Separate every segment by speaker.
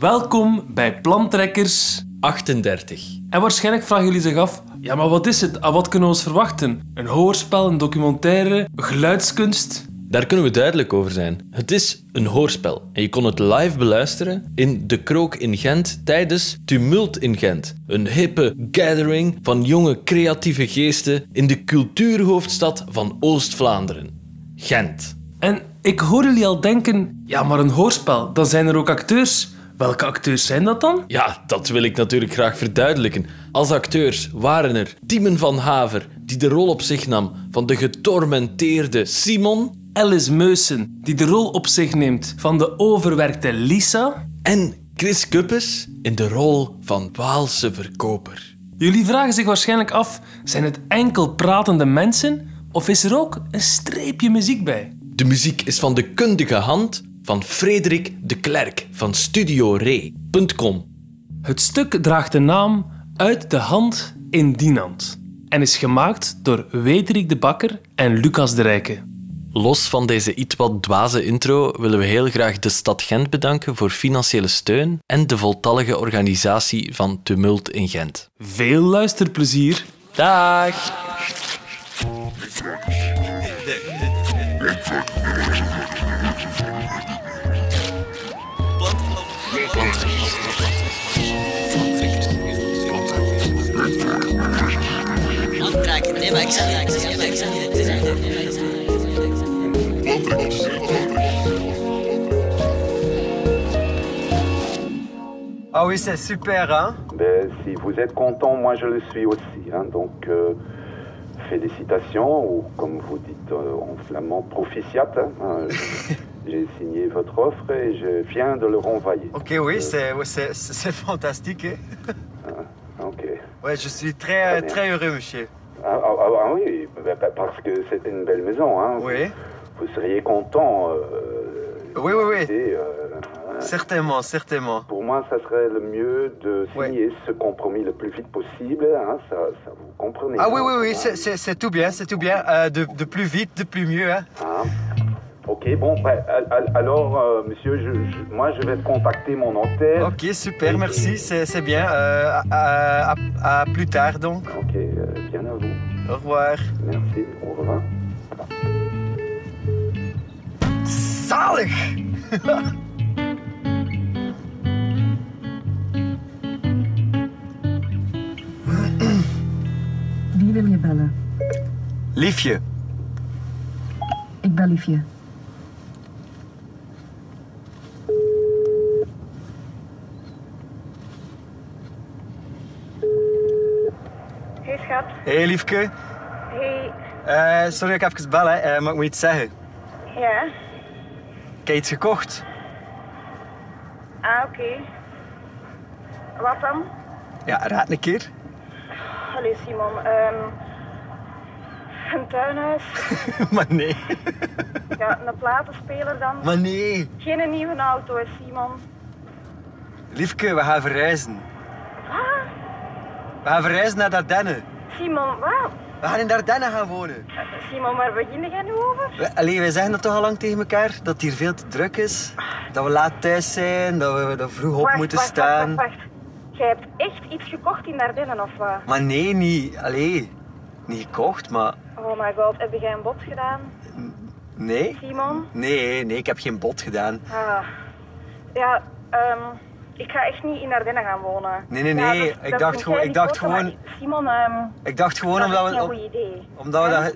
Speaker 1: Welkom bij Plantrekkers.
Speaker 2: 38.
Speaker 1: En waarschijnlijk vragen jullie zich af: ja, maar wat is het? Ah, wat kunnen we ons verwachten? Een hoorspel, een documentaire, geluidskunst?
Speaker 2: Daar kunnen we duidelijk over zijn. Het is een hoorspel en je kon het live beluisteren in De Krook in Gent tijdens Tumult in Gent. Een hippe gathering van jonge creatieve geesten in de cultuurhoofdstad van Oost-Vlaanderen. Gent.
Speaker 1: En ik hoor jullie al denken: ja, maar een hoorspel, dan zijn er ook acteurs. Welke acteurs zijn dat dan?
Speaker 2: Ja, dat wil ik natuurlijk graag verduidelijken. Als acteurs waren er Timen van Haver, die de rol op zich nam van de getormenteerde Simon,
Speaker 1: Alice Meusen, die de rol op zich neemt van de overwerkte Lisa.
Speaker 2: en Chris Kuppes in de rol van Waalse verkoper.
Speaker 1: Jullie vragen zich waarschijnlijk af: zijn het enkel pratende mensen of is er ook een streepje muziek bij?
Speaker 2: De muziek is van de kundige hand van Frederik de Klerk van StudioRe.com.
Speaker 1: Het stuk draagt de naam Uit de hand in die hand en is gemaakt door Wederik de Bakker en Lucas de Rijke.
Speaker 2: Los van deze iets wat dwaze intro willen we heel graag de stad Gent bedanken voor financiële steun en de voltallige organisatie van Tumult in Gent.
Speaker 1: Veel luisterplezier.
Speaker 2: Dag!
Speaker 3: Opdraken, nee, maar ik zeg het, ik zeg het, ik zeg het, ik zeg het, ik zeg het.
Speaker 4: Ah oui, c'est super, hein
Speaker 5: Ben, si vous êtes content, moi je le suis aussi. hein. donc, euh, félicitations, ou comme vous dites euh, en flamand, proficiat. hein. Euh, je- J'ai signé votre offre et je viens de le renvoyer. Euh,
Speaker 4: Ok, oui, c'est ouais, c'est- c'est- c'est fantastique. hein.
Speaker 5: Ok.
Speaker 4: Ouais, je suis très, euh, très heureux, monsieur.
Speaker 5: Ah, ah, ah, ah oui, ben, ben, parce que c'est une belle maison. Hein,
Speaker 4: Oui,
Speaker 5: Vous, vous seriez content. euh,
Speaker 4: Oui, oui, oui.
Speaker 5: et, euh,
Speaker 4: certainement, certainement.
Speaker 5: pour moi, ça serait le mieux de signer ce compromis le plus vite possible. hein. ça, ça, vous comprenez.
Speaker 4: Ah
Speaker 5: hein.
Speaker 4: oui, oui, oui,
Speaker 5: Hein.
Speaker 4: c'est- c'est c'est tout bien, c'est tout bien. Euh, de, de plus vite, de plus mieux, hein
Speaker 5: Hein Ok, bon, ben, al- al- alors, euh, monsieur, je, je- moi, je vais contacter mon hôtel.
Speaker 4: Ok, super, merci, c'est c'est bien. Euh, à, à- à plus tard, donc.
Speaker 5: Ok, euh, bien à vous.
Speaker 4: Au revoir.
Speaker 5: Merci, au revoir.
Speaker 4: Zalig!
Speaker 6: Wie wil je bellen?
Speaker 4: Liefje,
Speaker 6: Ik bel Liefje.
Speaker 7: Hey schat.
Speaker 4: hey liefke.
Speaker 7: Hey.
Speaker 4: Eh, sorry dat ik even bel, hè, eh, maar ik moet iets zeggen.
Speaker 7: Ja.
Speaker 4: Ik heb iets gekocht.
Speaker 7: Ah, oké. Wat dan?
Speaker 4: Ja, raad een keer.
Speaker 7: Allee, Simon. ehm, een tuinhuis.
Speaker 4: maar nee.
Speaker 7: Ja, een platenspeler dan.
Speaker 4: Maar nee.
Speaker 7: Geen nieuwe auto, hè, Simon.
Speaker 4: Liefke, we gaan verhuizen. We gaan verhuizen naar Dardenne.
Speaker 7: Simon, wat?
Speaker 4: We gaan in Dardenne gaan wonen.
Speaker 7: Eh, Simon, waar begin jij nu over?
Speaker 4: We- Allee, wij zeggen dat toch al lang tegen elkaar, dat het hier veel te druk is. Dat we laat thuis zijn, dat we er vroeg op moeten
Speaker 7: wacht,
Speaker 4: staan.
Speaker 7: Wacht, wacht, wacht. Jij hebt echt iets gekocht in Dardenne, of wat?
Speaker 4: Maar nee, niet. Allee, niet gekocht, maar
Speaker 7: Oh my god, heb jij een bot gedaan?
Speaker 4: nee.
Speaker 7: Simon?
Speaker 4: Nee, nee, ik heb geen bod gedaan.
Speaker 7: Ah. Ja, ehm, ik ga echt niet in Dardenne gaan wonen.
Speaker 4: Nee, nee,
Speaker 7: Ja,
Speaker 4: nee,
Speaker 7: dat-
Speaker 4: ik
Speaker 7: dat
Speaker 4: dacht
Speaker 7: moet
Speaker 4: gewoon-
Speaker 7: jij
Speaker 4: ik
Speaker 7: niet
Speaker 4: dacht
Speaker 7: kosten,
Speaker 4: gewoon-
Speaker 7: maar Simon, ehm,
Speaker 4: Ik dacht gewoon
Speaker 7: dat
Speaker 4: omdat
Speaker 7: is
Speaker 4: we...
Speaker 7: een
Speaker 4: om-
Speaker 7: goed idee.
Speaker 4: omdat we
Speaker 7: Hè?
Speaker 4: dat...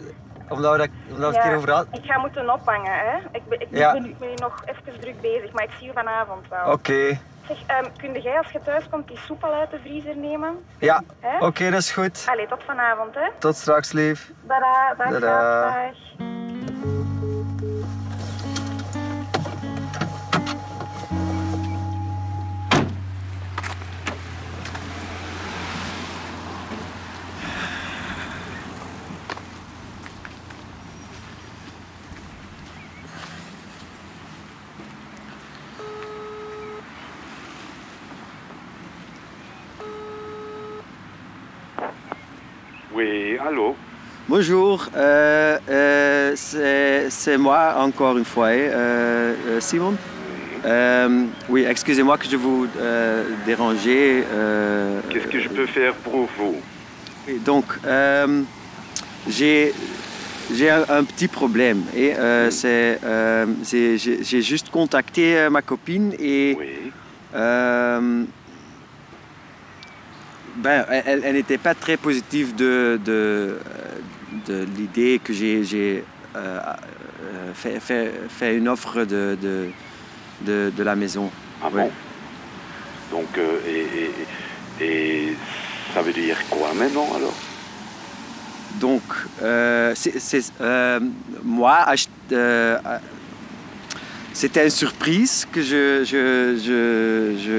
Speaker 4: Omdat we dat... Omdat we het
Speaker 7: Ja,
Speaker 4: hier over hadden.
Speaker 7: Ik ga moeten ophangen, hè. Ik, ben- ik,
Speaker 4: Ja.
Speaker 7: ben, ik ben hier nog even druk bezig, maar ik zie je vanavond wel.
Speaker 4: Oké.
Speaker 7: Zeg, ehm, kun jij als je thuis komt die soep al uit de vriezer nemen?
Speaker 4: Ja,
Speaker 7: Hè?
Speaker 4: oké, dat is goed.
Speaker 7: Allee, tot vanavond, hè.
Speaker 4: Tot straks, lief.
Speaker 7: Dada, dag,
Speaker 4: Dada.
Speaker 7: dag, dag.
Speaker 5: Oui, allô
Speaker 4: Bonjour, euh, euh, c'est c'est moi encore une fois, hein, euh, euh, Simon.
Speaker 5: Oui,
Speaker 4: Euh, oui, excusez-moi que je vous euh, dérangeais. euh,
Speaker 5: Qu'est-ce que je peux faire pour vous
Speaker 4: oui, Donc, euh, j'ai j'ai un, un petit problème. Et euh, c'est euh, c'est- j'ai j'ai juste contacté euh, ma copine et
Speaker 5: Oui.
Speaker 4: euh, ben, elle- elle elle n'était pas très positive de, de, euh, de l'idée que j'ai- j'ai euh, euh, fait, fait- fait une offre de, de, de, de la maison.
Speaker 5: Ah
Speaker 4: Ouais.
Speaker 5: bon Donc, euh, et, et- et ça veut dire quoi maintenant alors
Speaker 4: Donc, euh, c'est- c'est, euh, moi, ach- euh, euh, c'était une surprise que je, je, je- je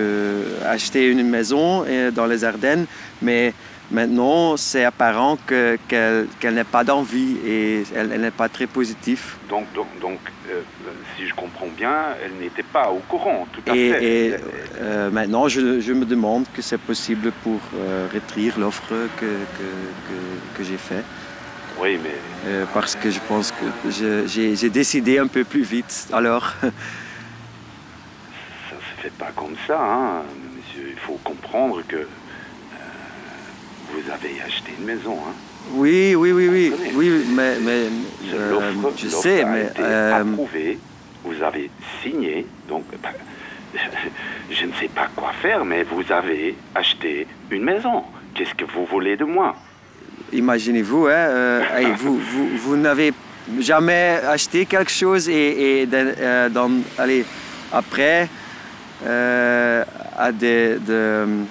Speaker 4: achetais une maison euh, dans les Ardennes, mais maintenant, c'est apparent que- qu'elle qu'elle n'a pas d'envie et elle, elle n'est pas très positive.
Speaker 5: Donc, donc, donc euh, si je comprends bien, elle n'était pas au courant, tout à
Speaker 4: Et,
Speaker 5: fait.
Speaker 4: et, euh, maintenant, je, je me demande que c'est possible pour euh, rétrécir l'offre que, que- que- que j'ai faite.
Speaker 5: Oui, mais
Speaker 4: Euh, parce que je pense que je- j'ai j'ai décidé un peu plus vite. Alors,
Speaker 5: ça se fait pas comme ça, hein, monsieur. Il faut comprendre que euh, vous avez acheté une maison, hein.
Speaker 4: oui, oui, oui, oui, oui, mais, mais
Speaker 5: C'est
Speaker 4: euh,
Speaker 5: L'offre
Speaker 4: je
Speaker 5: l'offre
Speaker 4: sais,
Speaker 5: a
Speaker 4: mais
Speaker 5: été
Speaker 4: euh,
Speaker 5: approuvée. Vous avez signé, donc bah, je ne sais pas quoi faire, mais vous avez acheté une maison. Qu'est-ce que vous voulez de moi
Speaker 4: imaginez-vous, hein, euh, hey, vous, vous, vous n'avez jamais acheté quelque chose et, et dans- euh, dans, allez, après, euh, à des, de, euh,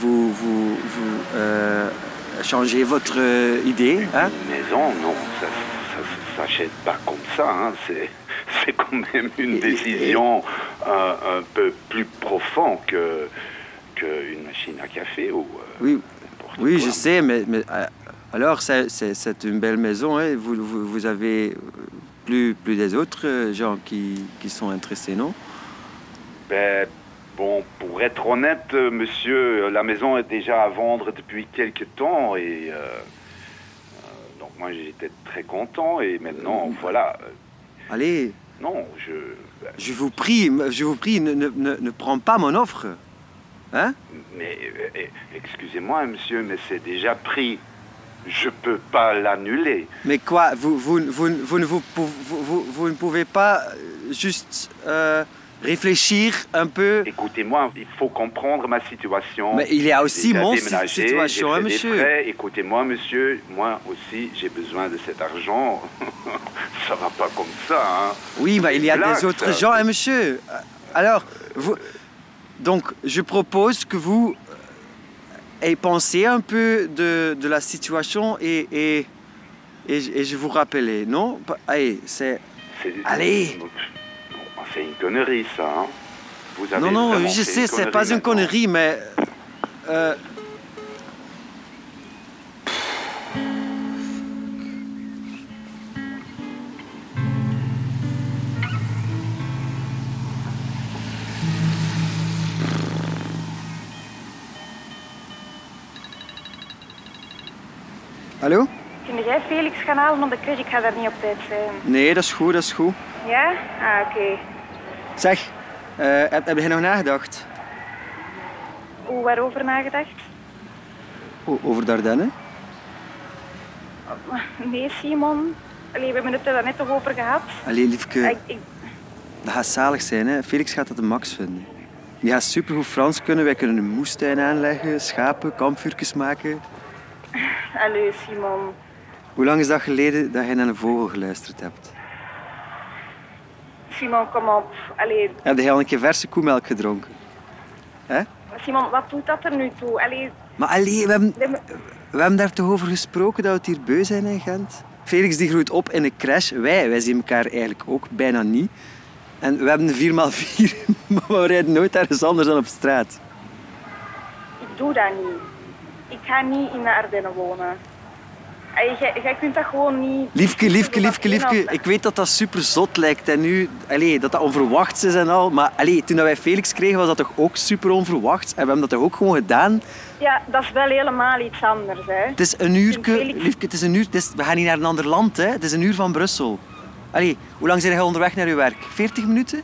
Speaker 4: vous, vous, vous euh, changez votre euh, idée, hein?
Speaker 5: Une maison, non, ça, ça, ça s'achète pas comme ça. hein. C'est, c'est quand même une décision euh, un peu plus profonde que qu'une machine à café ou. euh,
Speaker 4: Oui,
Speaker 5: n'importe
Speaker 4: Oui,
Speaker 5: quoi.
Speaker 4: je sais, mais, mais, euh, alors c'est- c'est c'est une belle maison. hein. Vous, vous, vous avez plus, plus des autres euh, gens qui, qui sont intéressés, non
Speaker 5: Ben, bon, pour être honnête, euh, monsieur, euh, la maison est déjà à vendre depuis quelques temps et. euh, euh, donc moi j'étais très content et maintenant voilà. euh,
Speaker 4: Allez,
Speaker 5: Non, je. ben,
Speaker 4: je vous prie, me- je vous prie, ne, ne, ne, ne prends pas mon offre. Hein
Speaker 5: Mais euh, eh, excusez-moi monsieur, mais c'est déjà pris. Je peux pas l'annuler.
Speaker 4: Mais quoi vous, vous, vous, vous, ne vous, pou- vous, vous, vous ne pouvez pas euh, juste euh, réfléchir un peu
Speaker 5: Écoutez-moi, il faut comprendre ma situation.
Speaker 4: Mais il y a
Speaker 5: J'ai
Speaker 4: aussi
Speaker 5: déjà
Speaker 4: mon
Speaker 5: déménagé,
Speaker 4: si- situation,
Speaker 5: j'ai
Speaker 4: hein,
Speaker 5: fait des
Speaker 4: monsieur.
Speaker 5: frais. Écoutez-moi, monsieur, moi aussi, j'ai besoin de cet argent. ça va pas comme ça, hein.
Speaker 4: Oui, mais il y a
Speaker 5: Blague,
Speaker 4: des autres
Speaker 5: ça.
Speaker 4: gens, hein, monsieur. Euh, Alors, vous... Donc, je propose que vous euh, ayez pensé un peu de, de la situation et, et, et, je- et je vous rappelais, non Pa- Allez, c'est...
Speaker 5: C'est-
Speaker 4: Allez.
Speaker 5: Non, C'est une connerie, ça, hein. Vous avez
Speaker 4: Non, non,
Speaker 5: Ah, vraiment
Speaker 4: je
Speaker 5: fait une
Speaker 4: sais, c'est
Speaker 5: connerie
Speaker 4: pas une
Speaker 5: maintenant.
Speaker 4: connerie, mais... euh, Hallo?
Speaker 7: Kun jij Felix gaan halen op de crash? Ik ga daar niet op tijd zijn.
Speaker 4: Nee, dat is goed, dat is goed.
Speaker 7: Ja? Ah, oké.
Speaker 4: Zeg, eh, heb, heb jij nog nagedacht
Speaker 7: Hoe, waarover nagedacht?
Speaker 4: o- over Dardenne?
Speaker 7: Nee, Simon. Allee, we hebben het er net toch over gehad.
Speaker 4: Allee, liefke.
Speaker 7: Ik, ik,
Speaker 4: Dat gaat zalig zijn, hè? Felix gaat dat de max vinden. Die gaat supergoed Frans kunnen. Wij kunnen een moestuin aanleggen, schapen, kampvuurtjes maken.
Speaker 7: allee, Simon.
Speaker 4: Hoe lang is dat geleden dat jij naar een vogel geluisterd hebt?
Speaker 7: Simon, kom op. Allee,
Speaker 4: Heb jij al een keer verse koemelk gedronken?
Speaker 7: Simon, wat doet dat er nu toe? Allee,
Speaker 4: Maar allee, we hebben,
Speaker 7: nee, maar-
Speaker 4: we hebben daar toch over gesproken dat we het hier beu zijn in Gent? Felix die groeit op in een crash. Wij, wij zien elkaar eigenlijk ook bijna niet. En we hebben een 4x4, maar we rijden nooit ergens anders dan op straat.
Speaker 7: ik doe dat niet. Ik ga niet in de Ardennen wonen. Allee, jij, jij kunt dat gewoon niet...
Speaker 4: Liefke, liefke,
Speaker 7: Ik doe dat
Speaker 4: liefke,
Speaker 7: geen
Speaker 4: liefke.
Speaker 7: hand-
Speaker 4: Ik weet dat dat super zot lijkt en nu, allee, dat dat onverwachts is en al. Maar allee, toen dat wij Felix kregen, was dat toch ook super onverwachts. En we hebben dat toch ook gewoon gedaan.
Speaker 7: Ja, dat is wel helemaal iets anders, hè.
Speaker 4: Het is een uurke,
Speaker 7: Felix-
Speaker 4: liefke, het is een uur. Het is, we gaan niet naar een ander land, hè. Het is een uur van Brussel. Allee, hoe lang zijn jij onderweg naar je werk? 40 minuten?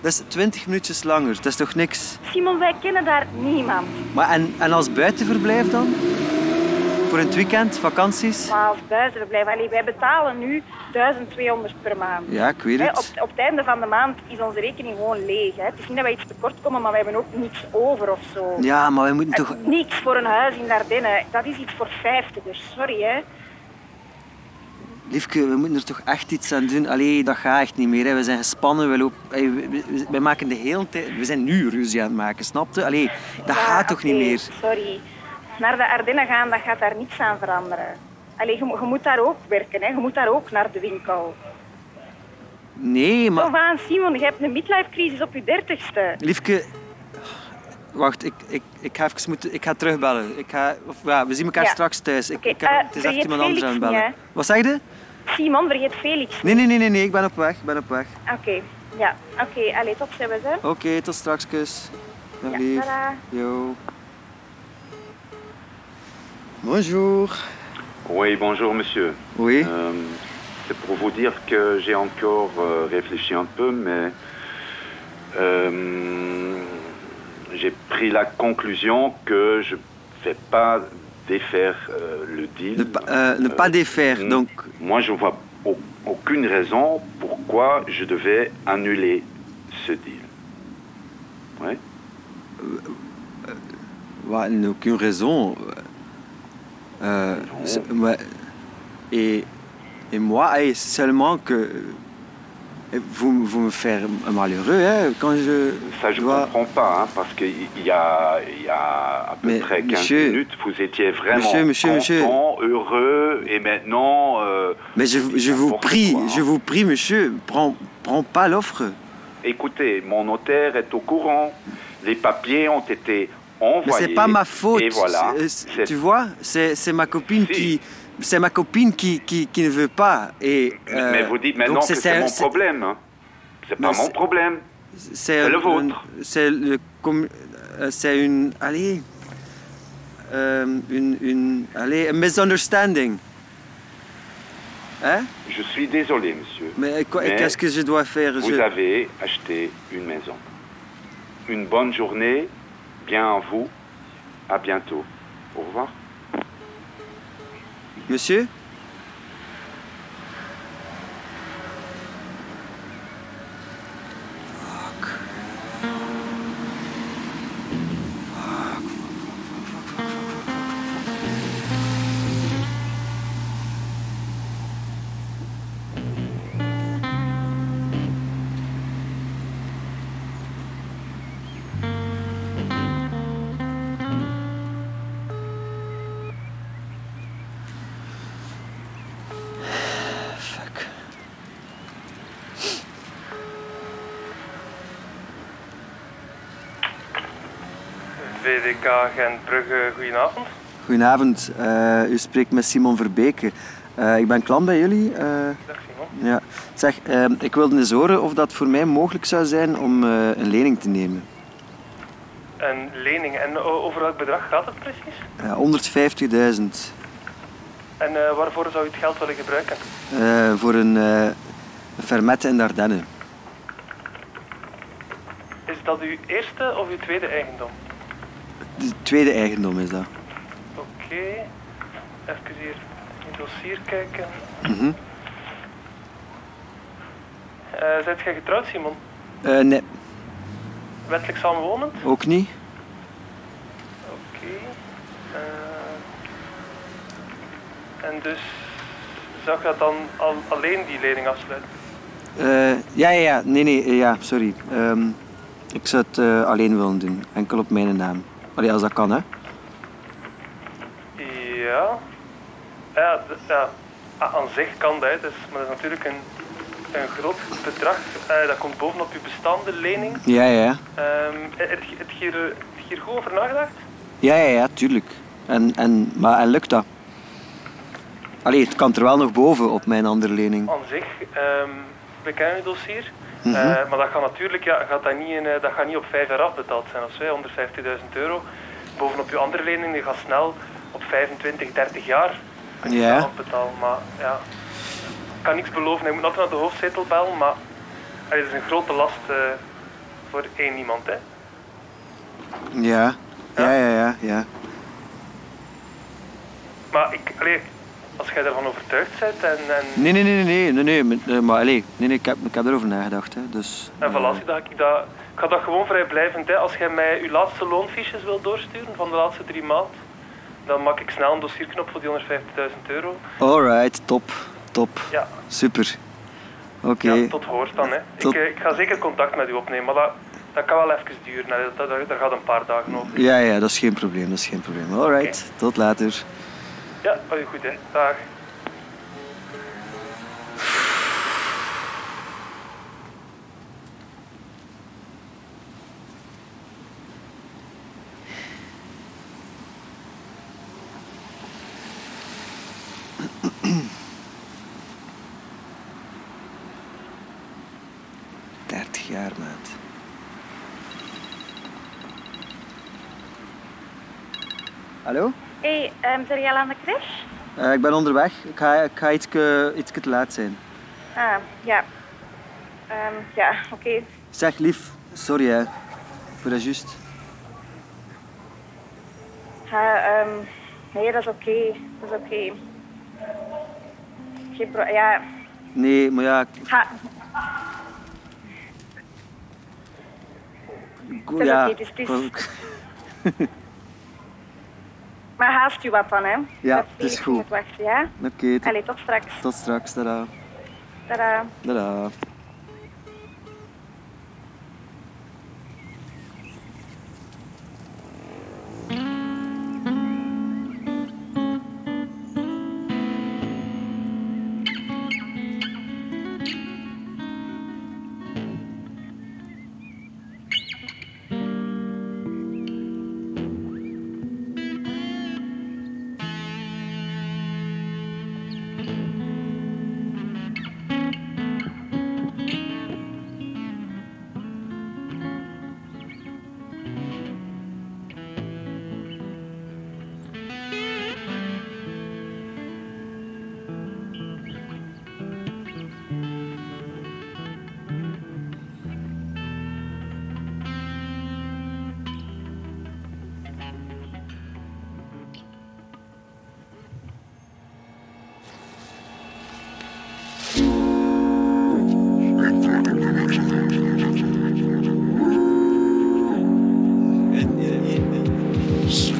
Speaker 4: Dat is 20 minuutjes langer, dat is toch niks?
Speaker 7: Simon, wij kennen daar niemand.
Speaker 4: Maar en, en als buitenverblijf dan? Voor een weekend, vakanties?
Speaker 7: Maar als buitenverblijf, allee, wij betalen nu 1200 per maand.
Speaker 4: Ja, ik weet
Speaker 7: Hè,
Speaker 4: het.
Speaker 7: op, op het einde van de maand is onze rekening gewoon leeg. Hè. Het is niet dat wij iets tekort komen, maar wij hebben ook niets over of zo.
Speaker 4: Ja, maar wij moeten
Speaker 7: Het
Speaker 4: toch...
Speaker 7: is Niks voor een huis in Ardennen. Dat is iets voor vijftigers, sorry hè.
Speaker 4: Liefke, we moeten er toch echt iets aan doen. Allee, dat gaat echt niet meer. Hè. We zijn gespannen. We lopen, hey, we, we- we maken de hele tijd... We zijn nu ruzie aan het maken, snapte? Allee, dat
Speaker 7: Ja,
Speaker 4: gaat toch niet
Speaker 7: oké,
Speaker 4: meer?
Speaker 7: Sorry. Naar de Ardennen gaan, dat gaat daar niets aan veranderen. Allee, je, mo- je moet daar ook werken, hè. je moet daar ook naar de winkel.
Speaker 4: Nee, maar...
Speaker 7: Kom aan, Simon, je hebt een midlife-crisis op je dertigste.
Speaker 4: Liefke... Wacht, ik, ik, ik, ga even moeten, ik ga terugbellen. Ik ga, of, ja, we zien elkaar
Speaker 7: Ja.
Speaker 4: straks thuis. Ik,
Speaker 7: Oké,
Speaker 4: ik heb-
Speaker 7: eh,
Speaker 4: het is echt
Speaker 7: vergeet
Speaker 4: iemand anders aan het
Speaker 7: Felix
Speaker 4: bellen.
Speaker 7: niet,
Speaker 4: Wat zeg je?
Speaker 7: Simon, vergeet Felix.
Speaker 4: Nee, nee, nee, nee, nee, ik ben op weg. Ik ben op weg.
Speaker 7: Oké, ja, oké. Allee, tot zijn we, hè.
Speaker 4: Oké, tot straks, kus. Dag
Speaker 7: Ja,
Speaker 4: lief.
Speaker 7: tada.
Speaker 4: Yo. Bonjour.
Speaker 5: Oui, bonjour monsieur.
Speaker 4: Oui.
Speaker 5: Euh, c'est pour vous dire que j'ai encore euh, réfléchi un peu, mais euh, j'ai pris la conclusion que je ne vais pas défaire euh, le deal.
Speaker 4: Ne, pa- euh, ne pas défaire,
Speaker 5: hmm.
Speaker 4: donc.
Speaker 5: Moi, je vois au- aucune raison pourquoi je devais annuler ce deal. Ouais.
Speaker 4: Ouais, il n'a aucune raison. Euh, c'est- ouais. et, et moi, hey, c'est seulement que. et Vous, vous me faites malheureux, hein, quand je.
Speaker 5: Ça, je ne
Speaker 4: dois-
Speaker 5: comprends pas, hein, parce qu'il y a, il y a à peu
Speaker 4: Mais,
Speaker 5: près 15
Speaker 4: monsieur,
Speaker 5: minutes, vous étiez vraiment
Speaker 4: monsieur, monsieur, monsieur.
Speaker 5: content, heureux, et maintenant... euh,
Speaker 4: Mais je, je vous
Speaker 5: N'importe
Speaker 4: prie,
Speaker 5: quoi, hein.
Speaker 4: je vous prie, monsieur, prends, prends pas l'offre.
Speaker 5: écoutez, mon notaire est au courant. Les papiers ont été
Speaker 4: Mais
Speaker 5: envoyés.
Speaker 4: c'est pas ma faute.
Speaker 5: Et voilà.
Speaker 4: C'est- c'est-
Speaker 5: C'est-
Speaker 4: Tu vois, c'est c'est ma copine
Speaker 5: Si.
Speaker 4: qui. C'est ma copine qui, qui, qui ne veut pas. Et, euh,
Speaker 5: Mais vous dites maintenant
Speaker 4: donc
Speaker 5: que c'est mon
Speaker 4: c'est-
Speaker 5: problème. hein. C'est
Speaker 4: Mais
Speaker 5: pas mon
Speaker 4: c'est-
Speaker 5: problème.
Speaker 4: C'est
Speaker 5: le
Speaker 4: un-
Speaker 5: vôtre.
Speaker 4: C'est le com- euh, c'est une allez euh, une une allez un misunderstanding. Hein?
Speaker 5: Je suis désolé, monsieur.
Speaker 4: Mais quoi-
Speaker 5: Mais
Speaker 4: qu'est-ce que je dois faire?
Speaker 5: Vous
Speaker 4: je...
Speaker 5: avez acheté une maison. Une bonne journée, bien à vous, à bientôt. Au revoir.
Speaker 4: Monsieur? Fuck. Fuck, fuck, fuck, fuck, fuck, fuck, fuck, fuck. Fuck.
Speaker 8: VDK Gent Brugge, goedenavond.
Speaker 4: Goedenavond, Eh, u spreekt met Simon Verbeke. Eh, ik ben klant bij jullie. eh,
Speaker 8: Dag Simon.
Speaker 4: ja. Zeg, ehm, ik wilde eens horen of dat voor mij mogelijk zou zijn om eh, een lening te nemen.
Speaker 8: Een lening. En o- over welk bedrag gaat het precies?
Speaker 4: Eh, 150.000
Speaker 8: En eh, waarvoor zou je het geld willen gebruiken?
Speaker 4: eh, voor een eh fermet in de Ardennen.
Speaker 8: Is dat uw eerste of uw tweede eigendom?
Speaker 4: De tweede eigendom is dat.
Speaker 8: Oké. Even hier in het dossier kijken.
Speaker 4: Mhm.
Speaker 8: Eh Zijt jij getrouwd, Simon?
Speaker 4: Eh, nee,
Speaker 8: Wettelijk samenwonend?
Speaker 4: ook niet.
Speaker 8: Oké. Eh, en dus zou je dat dan al, alleen die lening afsluiten?
Speaker 4: Eh, ja, ja, ja, nee, nee, eh, ja, sorry. Ehm, ik zou het eh, alleen willen doen, enkel op mijn naam. Allee, als dat kan, hè.
Speaker 8: Ja. Ja, d- ja. Ah, aan zich kan dat, hè. dus, maar dat is natuurlijk een, een groot bedrag. Eh, dat komt bovenop je bestaande lening.
Speaker 4: Ja, ja, ja.
Speaker 8: Ehm, eh, heb je heb je hier, eh, heb je hier goed over nagedacht?
Speaker 4: Ja, ja, ja, tuurlijk. En, en, maar en lukt dat? Allee, het kan er wel nog boven op mijn andere lening.
Speaker 8: Aan zich, ehm we kennen het dossier. Eh, maar dat gaat natuurlijk ja, gaat dat niet, in, eh, dat gaat niet op vijf jaar afbetaald zijn of zo, hè, 150.000 euro. Bovenop je andere lening, die gaat snel op 25, 30 jaar gaat die
Speaker 4: Ja.
Speaker 8: snel afbetalen. Maar ja, ik kan niks beloven. Je moet altijd naar de hoofdzetel bellen, maar eh, het is een grote last eh, voor één iemand, hè.
Speaker 4: Ja. Ja, ja, ja, ja.
Speaker 8: Maar ik, allee, als jij ervan overtuigd bent en, en,
Speaker 4: Nee, nee, nee, nee, nee, nee, nee, nee, maar allee, nee, nee, ik, heb, ik heb erover nagedacht, hè, dus...
Speaker 8: en voilà, zie dat ik dat... Ik ga dat gewoon vrijblijvend, hè. Als jij mij uw laatste loonfiches wil doorsturen van de laatste drie maanden, dan maak ik snel een dossierknop voor die 150.000 euro.
Speaker 4: Alright, top, top,
Speaker 8: Ja,
Speaker 4: super. Oké,
Speaker 8: ja, tot hoort dan, hè.
Speaker 4: Tot-
Speaker 8: Ik, eh, ik ga zeker contact met u opnemen, maar dat, dat kan wel even duren, hè. Dat, dat, daar gaat een paar dagen over.
Speaker 4: ja, ja, dat is geen probleem, dat is geen probleem. Alright, tot later.
Speaker 8: Ja, oh, goed, hè. Dag.
Speaker 4: Dertig jaar, maat. Hallo?
Speaker 7: Hé, hey, ehm, zijn jij al aan de crash?
Speaker 4: Eh, ik ben onderweg, ik ga, ik ga ietske- ietske te laat zijn.
Speaker 7: Ah, ja. Ehm, ja, oké.
Speaker 4: Zeg, lief, sorry hè, voor dat juist.
Speaker 7: Ja, ehm, nee, dat is oké. Dat is oké. Geen pro- Ja,
Speaker 4: Nee, maar ja, ik-
Speaker 7: ha,
Speaker 4: ik-
Speaker 7: is
Speaker 4: ja,
Speaker 7: oké, het is- het is-
Speaker 4: ik was ook-
Speaker 7: maar haast u wat dan, hè.
Speaker 4: Ja,
Speaker 7: Dat
Speaker 4: het is
Speaker 7: Felix
Speaker 4: goed.
Speaker 7: Moet wachten, ja?
Speaker 4: oké, tot,
Speaker 7: Allee, tot straks.
Speaker 4: tot straks, tada.
Speaker 7: Tada.
Speaker 4: Tada.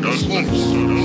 Speaker 9: Dat is ons.